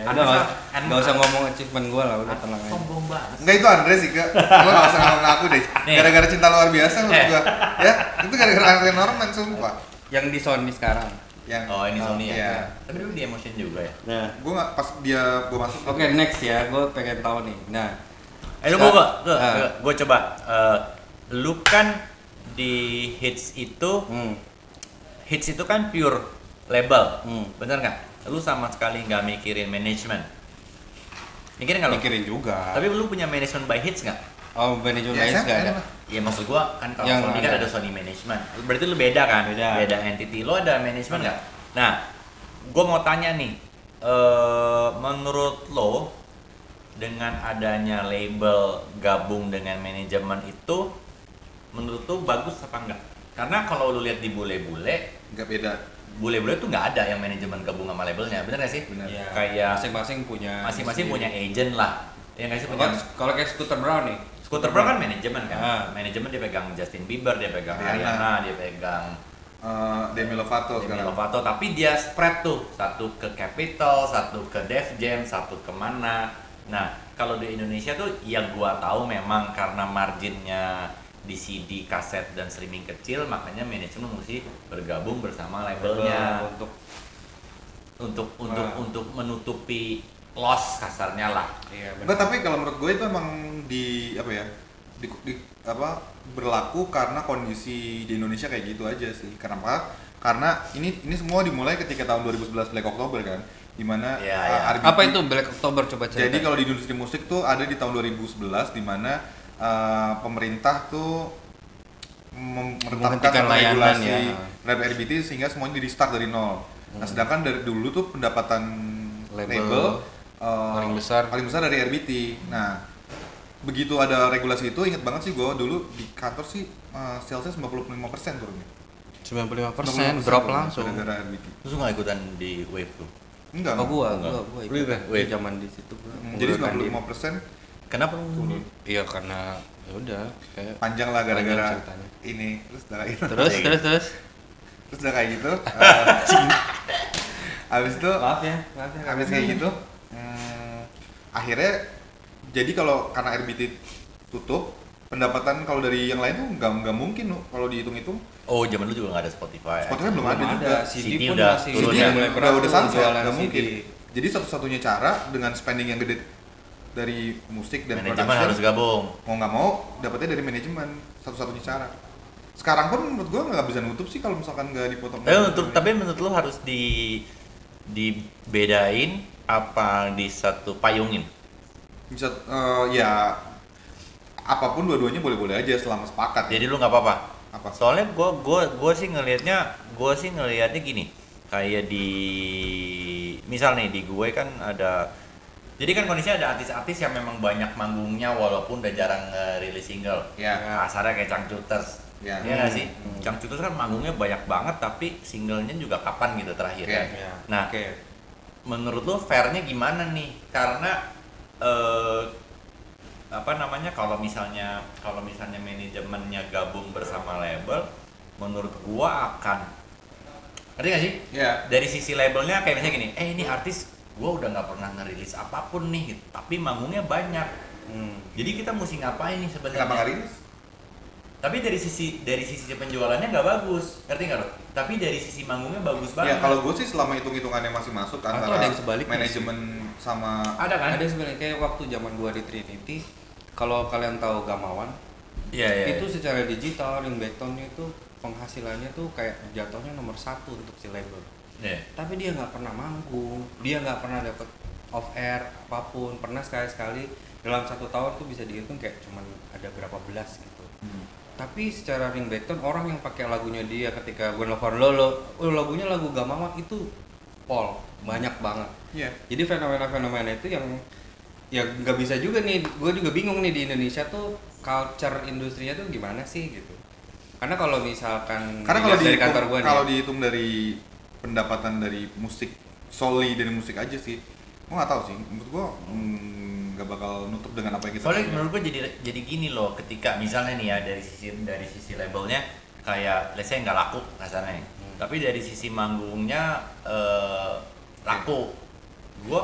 [SPEAKER 2] Udah, nggak nggak usah ngomong achievement gua lah udah tenang aja
[SPEAKER 4] sombong banget
[SPEAKER 3] Enggak itu Andre sih, Kak. Lo gak usah ngomong aku deh.
[SPEAKER 4] Nih.
[SPEAKER 3] Gara-gara cinta luar biasa menurut
[SPEAKER 4] Eh.
[SPEAKER 3] gua. Ya, itu gara-gara Andre Norman sumpah.
[SPEAKER 2] yang di Sony sekarang
[SPEAKER 3] Yang
[SPEAKER 4] Oh ini Sony ya?
[SPEAKER 3] Iya.
[SPEAKER 4] Tapi dulu di Emotion juga ya?
[SPEAKER 3] Gua nggak- pas dia gua masuk
[SPEAKER 2] oke next ya gua pengen tahu nih nah
[SPEAKER 4] Eh lu gue, gue,
[SPEAKER 2] Ah.
[SPEAKER 4] gue coba Eh, Lu kan di hits itu,
[SPEAKER 2] hmm.
[SPEAKER 4] hits itu kan pure label
[SPEAKER 2] Hmm.
[SPEAKER 4] Bener nggak? Lu sama sekali nggak mikirin manajemen Mikirin nggak lu?
[SPEAKER 2] mikirin juga
[SPEAKER 4] Tapi lu punya manajemen by hits nggak?
[SPEAKER 2] oh manajemen
[SPEAKER 3] Ya,
[SPEAKER 2] lain
[SPEAKER 3] saya
[SPEAKER 2] nggak ada
[SPEAKER 3] pengen lah.
[SPEAKER 4] Ya maksud gua kan kalau
[SPEAKER 2] Yang
[SPEAKER 4] Sony kan
[SPEAKER 2] ada.
[SPEAKER 4] ada Sony Management. Berarti lu beda kan?
[SPEAKER 2] Beda.
[SPEAKER 4] entity. Lu ada manajemen nggak? Nah, gua mau tanya nih. eh, menurut lo dengan adanya label gabung dengan manajemen itu menurut lo bagus apa enggak? Karena kalau lu lihat di bule-bule,
[SPEAKER 3] Enggak beda.
[SPEAKER 4] bule-bule tuh nggak ada yang manajemen gabung sama labelnya, bener nggak sih?
[SPEAKER 3] Bener.
[SPEAKER 2] Iya.
[SPEAKER 4] Kayak-
[SPEAKER 2] masing-masing punya
[SPEAKER 4] Masing-masing
[SPEAKER 2] sendiri.
[SPEAKER 4] punya agent lah, ya nggak sih
[SPEAKER 2] Kalau
[SPEAKER 4] punya
[SPEAKER 2] kalau kayak skuter brown nih.
[SPEAKER 4] Scooter Brown kan manajemen kan,
[SPEAKER 2] Ah.
[SPEAKER 4] manajemen dia pegang Justin Bieber, dia pegang
[SPEAKER 3] Rihanna.
[SPEAKER 4] Ariana, dia pegang
[SPEAKER 3] Eh, Demi Lovato
[SPEAKER 4] Demi
[SPEAKER 3] sekarang.
[SPEAKER 4] Lovato, tapi dia spread tuh satu ke Capital, satu ke Def Jam, satu ke mana. Nah kalau di Indonesia tuh ya gua tahu memang karena marginnya di CD, kaset dan streaming kecil, makanya manajemen mesti bergabung bersama
[SPEAKER 2] Iya.
[SPEAKER 4] labelnya
[SPEAKER 2] Untuk
[SPEAKER 4] untuk untuk
[SPEAKER 3] Ah.
[SPEAKER 4] untuk menutupi loss kasarnya lah.
[SPEAKER 2] iya
[SPEAKER 3] Enggak, tapi kalau menurut gue itu emang di apa ya? di, di- apa berlaku karena kondisi di Indonesia kayak gitu aja sih. Kenapa? Karena ini ini semua dimulai ketika tahun 2011 Black October kan, dimana
[SPEAKER 4] Iya,
[SPEAKER 3] uh,
[SPEAKER 4] iya.
[SPEAKER 3] RBT
[SPEAKER 2] Apa itu Black October coba cari.
[SPEAKER 3] jadi kalau di industri musik tuh ada di tahun 2011 di mana eh, pemerintah tuh mem-
[SPEAKER 2] Menghentikan
[SPEAKER 3] menetapkan
[SPEAKER 2] layanan
[SPEAKER 3] regulasi
[SPEAKER 2] ya. Hmm.
[SPEAKER 3] terhadap RBT sehingga semuanya di restart dari nol. Nah, sedangkan dari dulu tuh pendapatan
[SPEAKER 2] Label
[SPEAKER 3] label, eh,
[SPEAKER 2] paling besar.
[SPEAKER 3] paling besar dari RBT. Nah, begitu ada regulasi itu ingat banget sih gua dulu di kantor sih eh, salesnya 95% turunnya.
[SPEAKER 2] 95% drop
[SPEAKER 3] 95%
[SPEAKER 2] langsung.
[SPEAKER 3] gara-gara RBT.
[SPEAKER 4] Terus nggak ikutan di wave tuh?
[SPEAKER 3] Enggak. Hmm,
[SPEAKER 2] Oh gua,
[SPEAKER 4] Enggak.
[SPEAKER 2] gua, gua
[SPEAKER 4] Lu juga?
[SPEAKER 2] ikut.
[SPEAKER 4] Wait.
[SPEAKER 2] Di zaman di situ gua.
[SPEAKER 3] Jadi
[SPEAKER 2] mengundurkan diri.
[SPEAKER 3] 95%
[SPEAKER 4] Kenapa lu?
[SPEAKER 2] Iya karena ya udah kayak
[SPEAKER 3] panjang lah
[SPEAKER 2] Panjang
[SPEAKER 3] gara-gara
[SPEAKER 2] ceritanya.
[SPEAKER 3] ini terus udah kayak gitu
[SPEAKER 2] terus
[SPEAKER 4] Iya.
[SPEAKER 2] terus terus.
[SPEAKER 3] terus udah kayak gitu eh, cing- abis itu
[SPEAKER 2] Maaf ya, maaf ya.
[SPEAKER 3] abis kayak gitu hmm, akhirnya jadi kalau karena RBT tutup pendapatan kalau dari yang lain tuh nggak nggak mungkin loh kalau dihitung hitung
[SPEAKER 4] Oh, zaman lu juga nggak ada Spotify.
[SPEAKER 3] Spotify belum ada
[SPEAKER 2] Belum
[SPEAKER 3] juga
[SPEAKER 2] ada CD,
[SPEAKER 4] CD
[SPEAKER 2] pun
[SPEAKER 4] udah
[SPEAKER 2] masih
[SPEAKER 4] turun ya.
[SPEAKER 3] jadi
[SPEAKER 2] Iya, udah mulai
[SPEAKER 3] udah udah
[SPEAKER 2] berkurang
[SPEAKER 3] sunset
[SPEAKER 2] jualan
[SPEAKER 3] nggak
[SPEAKER 2] CD.
[SPEAKER 3] mungkin jadi satu-satunya cara dengan spending yang gede dari musik dan
[SPEAKER 4] Manajemen harus
[SPEAKER 3] production
[SPEAKER 4] gabung.
[SPEAKER 3] mau nggak mau dapatnya dari manajemen satu-satunya cara sekarang pun menurut gua nggak bisa nutup sih kalau misalkan nggak dipotong
[SPEAKER 4] Tapi
[SPEAKER 2] Eh,
[SPEAKER 4] menurut, tapi menurut lu harus di dibedain apa di satu payungin?
[SPEAKER 3] bisa eh, ya apapun dua-duanya boleh-boleh aja selama sepakat
[SPEAKER 4] Jadi lu nggak apa-apa.
[SPEAKER 3] Apa?
[SPEAKER 4] Soalnya gua gua gua sih ngelihatnya gua sih ngelihatnya gini. Kayak di misal nih di gue kan ada jadi kan kondisinya ada artis-artis yang memang banyak manggungnya walaupun udah jarang rilis single.
[SPEAKER 3] Ya.
[SPEAKER 4] Kasarnya kayak Cangcuters.
[SPEAKER 3] Ya.
[SPEAKER 4] Iya nggak sih? Cangcuters kan manggungnya banyak banget tapi singlenya juga kapan gitu terakhir. ya?
[SPEAKER 3] Ya.
[SPEAKER 2] Iya.
[SPEAKER 4] Nah,
[SPEAKER 2] Oke.
[SPEAKER 4] menurut lo fairnya gimana nih karena eh, apa namanya kalau misalnya kalau misalnya manajemennya gabung bersama label menurut gua akan ngerti gak sih
[SPEAKER 3] ya
[SPEAKER 4] dari sisi labelnya kayak misalnya gini eh ini artis gua udah nggak pernah ngerilis apapun nih gitu. tapi manggungnya banyak
[SPEAKER 2] Hmm.
[SPEAKER 4] jadi kita mesti ngapain nih sebenarnya
[SPEAKER 3] kenapa nggak rilis
[SPEAKER 4] tapi dari sisi dari sisi penjualannya nggak bagus ngerti nggak lo tapi dari sisi manggungnya bagus banget
[SPEAKER 3] ya kalau gue sih selama hitung-hitungannya masih masuk
[SPEAKER 2] Atau
[SPEAKER 3] antara
[SPEAKER 2] ada yang sebaliknya
[SPEAKER 3] manajemen sama
[SPEAKER 4] ada kan
[SPEAKER 2] Ada sebenarnya kayak waktu zaman gua di Trinity, kalau kalian tahu Gamawan,
[SPEAKER 4] iya iya
[SPEAKER 2] itu secara digital ringbacktonnya itu penghasilannya tuh kayak jatuhnya nomor satu untuk si label
[SPEAKER 4] Iya.
[SPEAKER 2] tapi dia nggak pernah manggung dia nggak pernah dapat off air apapun pernah sekali sekali dalam satu tahun tuh bisa dihitung kayak cuman ada berapa belas gitu
[SPEAKER 4] Hmm.
[SPEAKER 2] tapi secara ringbackton orang yang pakai lagunya dia ketika Gwen Lover Lolo oh, lagunya lagu Gamawan itu pol banyak banget
[SPEAKER 3] Iya.
[SPEAKER 2] jadi fenomena-fenomena itu yang ya nggak bisa juga nih gue juga bingung nih di Indonesia tuh culture industrinya tuh gimana sih gitu karena kalau misalkan
[SPEAKER 3] karena kalau
[SPEAKER 2] dilihat dari
[SPEAKER 3] dihitung,
[SPEAKER 2] kantor gue nih
[SPEAKER 3] kalau dihitung dari pendapatan dari musik solely dari musik aja sih gue nggak tahu sih menurut gue nggak bakal nutup dengan apa yang kita
[SPEAKER 4] Soalnya
[SPEAKER 3] punya.
[SPEAKER 4] menurut gue jadi jadi gini loh, ketika misalnya nih ya dari sisi dari sisi labelnya kayak let's say nggak laku kasarnya,
[SPEAKER 3] Hmm.
[SPEAKER 4] tapi dari sisi manggungnya eh, laku, gue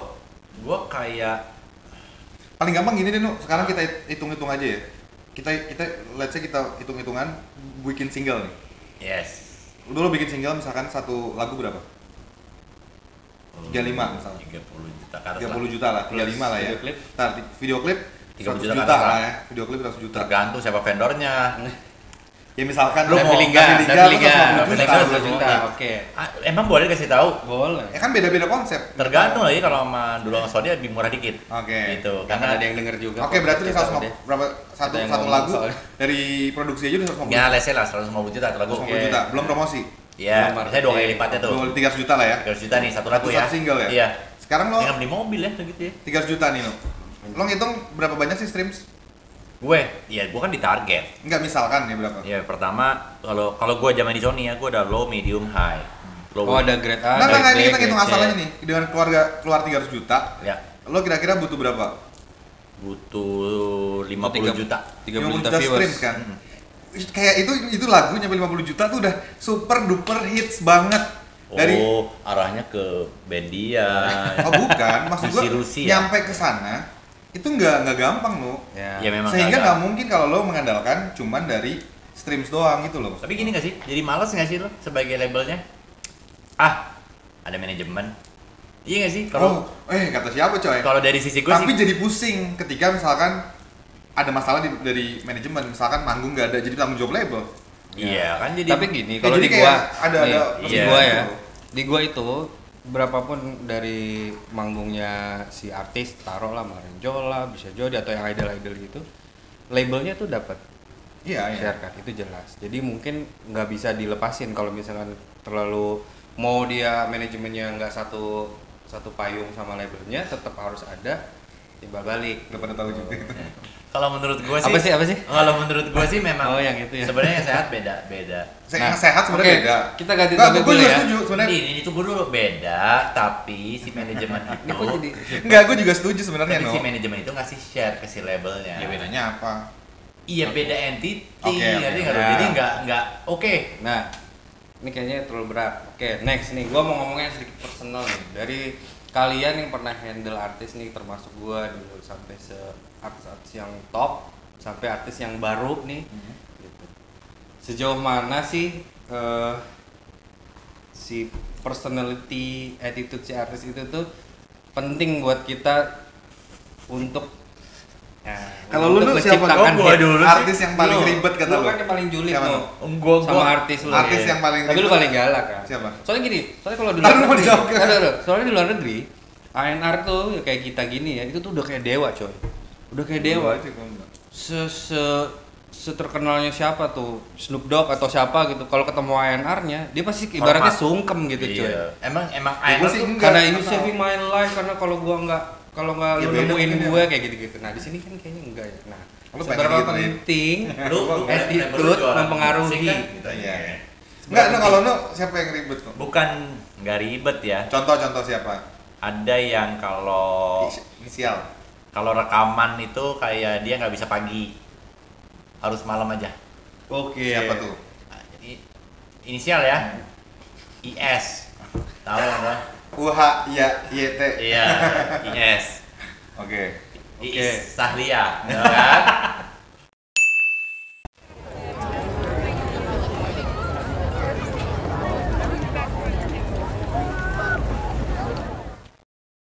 [SPEAKER 4] gue kayak
[SPEAKER 3] paling gampang gini deh nu sekarang kita hitung hitung aja ya kita kita let's say kita hitung hitungan bikin single nih
[SPEAKER 4] yes
[SPEAKER 3] Udah lo bikin single misalkan satu lagu berapa? 35 misalnya.
[SPEAKER 4] 30 juta ke atas
[SPEAKER 3] 30
[SPEAKER 4] lah.
[SPEAKER 3] juta lah, 35 lah ya.
[SPEAKER 2] video klip.
[SPEAKER 3] Ntar, di- video klip
[SPEAKER 4] 30
[SPEAKER 3] 100
[SPEAKER 4] juta
[SPEAKER 3] juta,
[SPEAKER 4] kan,
[SPEAKER 3] lah
[SPEAKER 4] Pak?
[SPEAKER 3] ya. Video klip 100 juta.
[SPEAKER 4] tergantung siapa vendornya.
[SPEAKER 3] Ya misalkan
[SPEAKER 4] Lu mau
[SPEAKER 3] Liga,
[SPEAKER 4] Davi Liga,
[SPEAKER 3] lu
[SPEAKER 4] Liga, Davi
[SPEAKER 3] 150 juta,
[SPEAKER 4] Liga,
[SPEAKER 2] Seratus juta,
[SPEAKER 3] 200 juta.
[SPEAKER 2] oke
[SPEAKER 4] Ah, Emang boleh kasih tahu?
[SPEAKER 2] boleh
[SPEAKER 3] Ya kan beda-beda konsep.
[SPEAKER 4] Tergantung lagi kalau sama dulu sama Sony lebih murah dikit.
[SPEAKER 3] Oke.
[SPEAKER 4] Gitu.
[SPEAKER 2] karena
[SPEAKER 4] Karena
[SPEAKER 2] ada yang denger juga
[SPEAKER 3] Oke,
[SPEAKER 2] podcast
[SPEAKER 3] berarti lu
[SPEAKER 2] kita
[SPEAKER 3] 150
[SPEAKER 2] udah.
[SPEAKER 3] berapa satu
[SPEAKER 2] Ada yang
[SPEAKER 3] satu
[SPEAKER 2] ngomong
[SPEAKER 3] lagu
[SPEAKER 2] soalnya.
[SPEAKER 3] dari produksi aja udah 150
[SPEAKER 4] ya let's say lah 150 juta atau lagu.
[SPEAKER 3] 150
[SPEAKER 2] Oke.
[SPEAKER 3] juta, belum promosi.
[SPEAKER 4] Iya,
[SPEAKER 2] Nomor
[SPEAKER 4] misalnya dua kali
[SPEAKER 2] kecil.
[SPEAKER 4] lipatnya tuh.
[SPEAKER 3] 200 300 juta lah ya.
[SPEAKER 4] 300 juta nih satu lagu
[SPEAKER 3] Satu
[SPEAKER 4] ya.
[SPEAKER 3] single ya.
[SPEAKER 4] Iya.
[SPEAKER 3] Sekarang lo
[SPEAKER 4] Dengan beli mobil ya gitu ya.
[SPEAKER 3] 300 juta nih lo. Lo ngitung berapa banyak sih streams?
[SPEAKER 4] Gue, ya gue kan di target.
[SPEAKER 3] Enggak misalkan ya berapa?
[SPEAKER 4] Ya pertama kalau kalau gue zaman di Sony ya gue ada low, medium, high. Low.
[SPEAKER 2] oh ada grade
[SPEAKER 4] Ah,
[SPEAKER 2] A
[SPEAKER 3] Nah,
[SPEAKER 2] grade
[SPEAKER 3] nah, nah,
[SPEAKER 2] B
[SPEAKER 3] ini kita
[SPEAKER 2] grade
[SPEAKER 3] hitung
[SPEAKER 2] C.
[SPEAKER 3] asalnya nih dengan keluarga keluar 300 juta,
[SPEAKER 4] Ya
[SPEAKER 3] lo kira-kira butuh berapa?
[SPEAKER 4] butuh 50
[SPEAKER 2] Tiga-
[SPEAKER 4] juta. Hmm.
[SPEAKER 2] 30 juta
[SPEAKER 3] streams
[SPEAKER 2] viewers
[SPEAKER 3] kan? Ih, Kayak itu itu lagu nyampe 50 juta tuh udah super duper hits banget. Dari
[SPEAKER 4] Oh arahnya ke Bendia.
[SPEAKER 3] oh bukan, maksud gua
[SPEAKER 4] Rusi-rusi ya?
[SPEAKER 3] nyampe ke sana itu nggak nggak gampang lo.
[SPEAKER 4] ya memang.
[SPEAKER 3] Sehingga
[SPEAKER 4] agak-
[SPEAKER 3] nggak mungkin kalau lo mengandalkan cuman dari streams doang itu loh.
[SPEAKER 4] Tapi gini gak sih? Jadi males gak sih lo sebagai labelnya? Ah ada manajemen. Iya gak sih?
[SPEAKER 3] oh,
[SPEAKER 4] Kalau
[SPEAKER 2] Oh.
[SPEAKER 3] eh kata siapa coy?
[SPEAKER 4] kalau dari sisi gue
[SPEAKER 3] Tapi
[SPEAKER 4] sih.
[SPEAKER 3] jadi pusing ketika misalkan ada masalah di- dari manajemen misalkan manggung nggak ada jadi tanggung jawab label
[SPEAKER 4] Iya kan jadi
[SPEAKER 2] tapi gini
[SPEAKER 3] Ya,
[SPEAKER 2] kalau
[SPEAKER 3] jadi
[SPEAKER 2] di gua
[SPEAKER 3] kayak gitu. ada-
[SPEAKER 2] nih,
[SPEAKER 3] ada
[SPEAKER 2] di
[SPEAKER 4] iya.
[SPEAKER 2] gua ya di gua itu berapapun dari manggungnya si artis taruh lah Marenjola bisa Jody atau yang idol idol gitu labelnya tuh dapat
[SPEAKER 3] iya iya
[SPEAKER 2] share kan itu jelas jadi mungkin nggak bisa dilepasin kalau misalkan terlalu mau dia manajemennya nggak satu satu payung sama labelnya tetap harus ada timbal balik
[SPEAKER 3] udah pada tahu juga itu
[SPEAKER 4] kalau menurut gue sih
[SPEAKER 2] Apa sih, apa sih?
[SPEAKER 4] kalau menurut gue sih memang
[SPEAKER 2] Oh, yang itu ya.
[SPEAKER 4] sebenarnya yang sehat beda beda
[SPEAKER 3] Se-
[SPEAKER 2] Nah,
[SPEAKER 3] yang sehat sebenarnya
[SPEAKER 2] oke,
[SPEAKER 3] beda
[SPEAKER 2] kita ganti
[SPEAKER 3] Nggak,
[SPEAKER 2] topik
[SPEAKER 3] gue
[SPEAKER 2] dulu
[SPEAKER 3] juga
[SPEAKER 2] ya.
[SPEAKER 3] setuju sebenarnya
[SPEAKER 4] ini ini tunggu dulu beda tapi si manajemen
[SPEAKER 2] ini kok jadi
[SPEAKER 4] itu
[SPEAKER 3] Enggak, gue juga setuju sebenarnya
[SPEAKER 4] tapi
[SPEAKER 3] no
[SPEAKER 4] si manajemen itu ngasih share ke si labelnya
[SPEAKER 3] ya bedanya apa
[SPEAKER 4] iya beda entity
[SPEAKER 3] Oke, oke.
[SPEAKER 4] ngerti nggak lu?
[SPEAKER 2] Ya.
[SPEAKER 4] jadi nggak nggak oke
[SPEAKER 2] Nah, ini kayaknya terlalu berat. Oke, next nih, gua mau ngomongnya sedikit personal nih. Dari kalian yang pernah handle artis nih, termasuk gua dulu sampai se artis-artis yang top, sampai artis yang baru nih,
[SPEAKER 3] Mhm.
[SPEAKER 2] gitu. Sejauh mana sih eh, si personality, attitude si artis itu tuh penting buat kita untuk nah,
[SPEAKER 3] Kalau lu
[SPEAKER 2] untuk
[SPEAKER 3] tuh siapa?
[SPEAKER 2] menciptakan
[SPEAKER 4] Oh, gua
[SPEAKER 2] hits.
[SPEAKER 4] dulu sih.
[SPEAKER 3] artis yang paling
[SPEAKER 2] Lu,
[SPEAKER 3] ribet kata
[SPEAKER 2] lu
[SPEAKER 3] lu
[SPEAKER 2] kan yang paling julid
[SPEAKER 3] Siapa
[SPEAKER 2] tuh
[SPEAKER 3] lu?
[SPEAKER 4] Gua
[SPEAKER 2] sama
[SPEAKER 4] gua-
[SPEAKER 2] artis lu
[SPEAKER 3] Artis
[SPEAKER 2] ya.
[SPEAKER 3] yang paling
[SPEAKER 2] tapi lu
[SPEAKER 3] ribet.
[SPEAKER 2] paling galak kan
[SPEAKER 3] Siapa?
[SPEAKER 2] soalnya gini soalnya kalau di
[SPEAKER 3] Ntar
[SPEAKER 2] luar
[SPEAKER 3] lu mau
[SPEAKER 2] negeri
[SPEAKER 3] jawab kan?
[SPEAKER 2] Ntar, ntar. soalnya di luar negeri ANR tuh ya kayak kita gini ya itu tuh udah kayak dewa coy udah kayak dewa
[SPEAKER 3] Aja gua enggak.
[SPEAKER 2] se se seterkenalnya siapa tuh Snoop Dogg atau siapa gitu kalau ketemu ANR-nya dia pasti ibaratnya
[SPEAKER 4] Hormat.
[SPEAKER 2] sungkem gitu coy
[SPEAKER 4] Iya. emang emang
[SPEAKER 3] Ya,
[SPEAKER 4] air
[SPEAKER 3] gua
[SPEAKER 4] tuh
[SPEAKER 3] sih enggak,
[SPEAKER 2] karena ini
[SPEAKER 3] atau-
[SPEAKER 2] saving my life karena kalau gua nggak kalau nggak
[SPEAKER 3] Ya,
[SPEAKER 2] lu
[SPEAKER 3] beda
[SPEAKER 2] nemuin
[SPEAKER 3] mungkin ya.
[SPEAKER 2] gue kayak gitu-gitu nah di sini kan kayaknya enggak ya nah
[SPEAKER 3] Lu pengen
[SPEAKER 2] seberapa
[SPEAKER 3] gitu, Din.
[SPEAKER 2] penting
[SPEAKER 4] lu lu
[SPEAKER 2] attitude
[SPEAKER 4] label lu jualan
[SPEAKER 2] mempengaruhi.
[SPEAKER 4] musik kan, gitu,
[SPEAKER 3] Iya.
[SPEAKER 4] iya.
[SPEAKER 3] Enggak, no, kalau no siapa yang ribet kok?
[SPEAKER 4] bukan nggak ribet ya
[SPEAKER 3] Contoh-contoh siapa?
[SPEAKER 4] ada yang
[SPEAKER 2] Oh.
[SPEAKER 4] kalau
[SPEAKER 3] Is- Inisial.
[SPEAKER 4] kalau rekaman itu kayak dia nggak bisa pagi harus malam aja
[SPEAKER 2] oke
[SPEAKER 3] Siapa tuh?
[SPEAKER 4] I- Nah, inisial ya IS tahu nggak
[SPEAKER 3] UH ya YT.
[SPEAKER 2] Eh.
[SPEAKER 4] iya IS
[SPEAKER 3] Oke.
[SPEAKER 4] Oke.
[SPEAKER 2] Oke.
[SPEAKER 4] Sahlia, ya kan?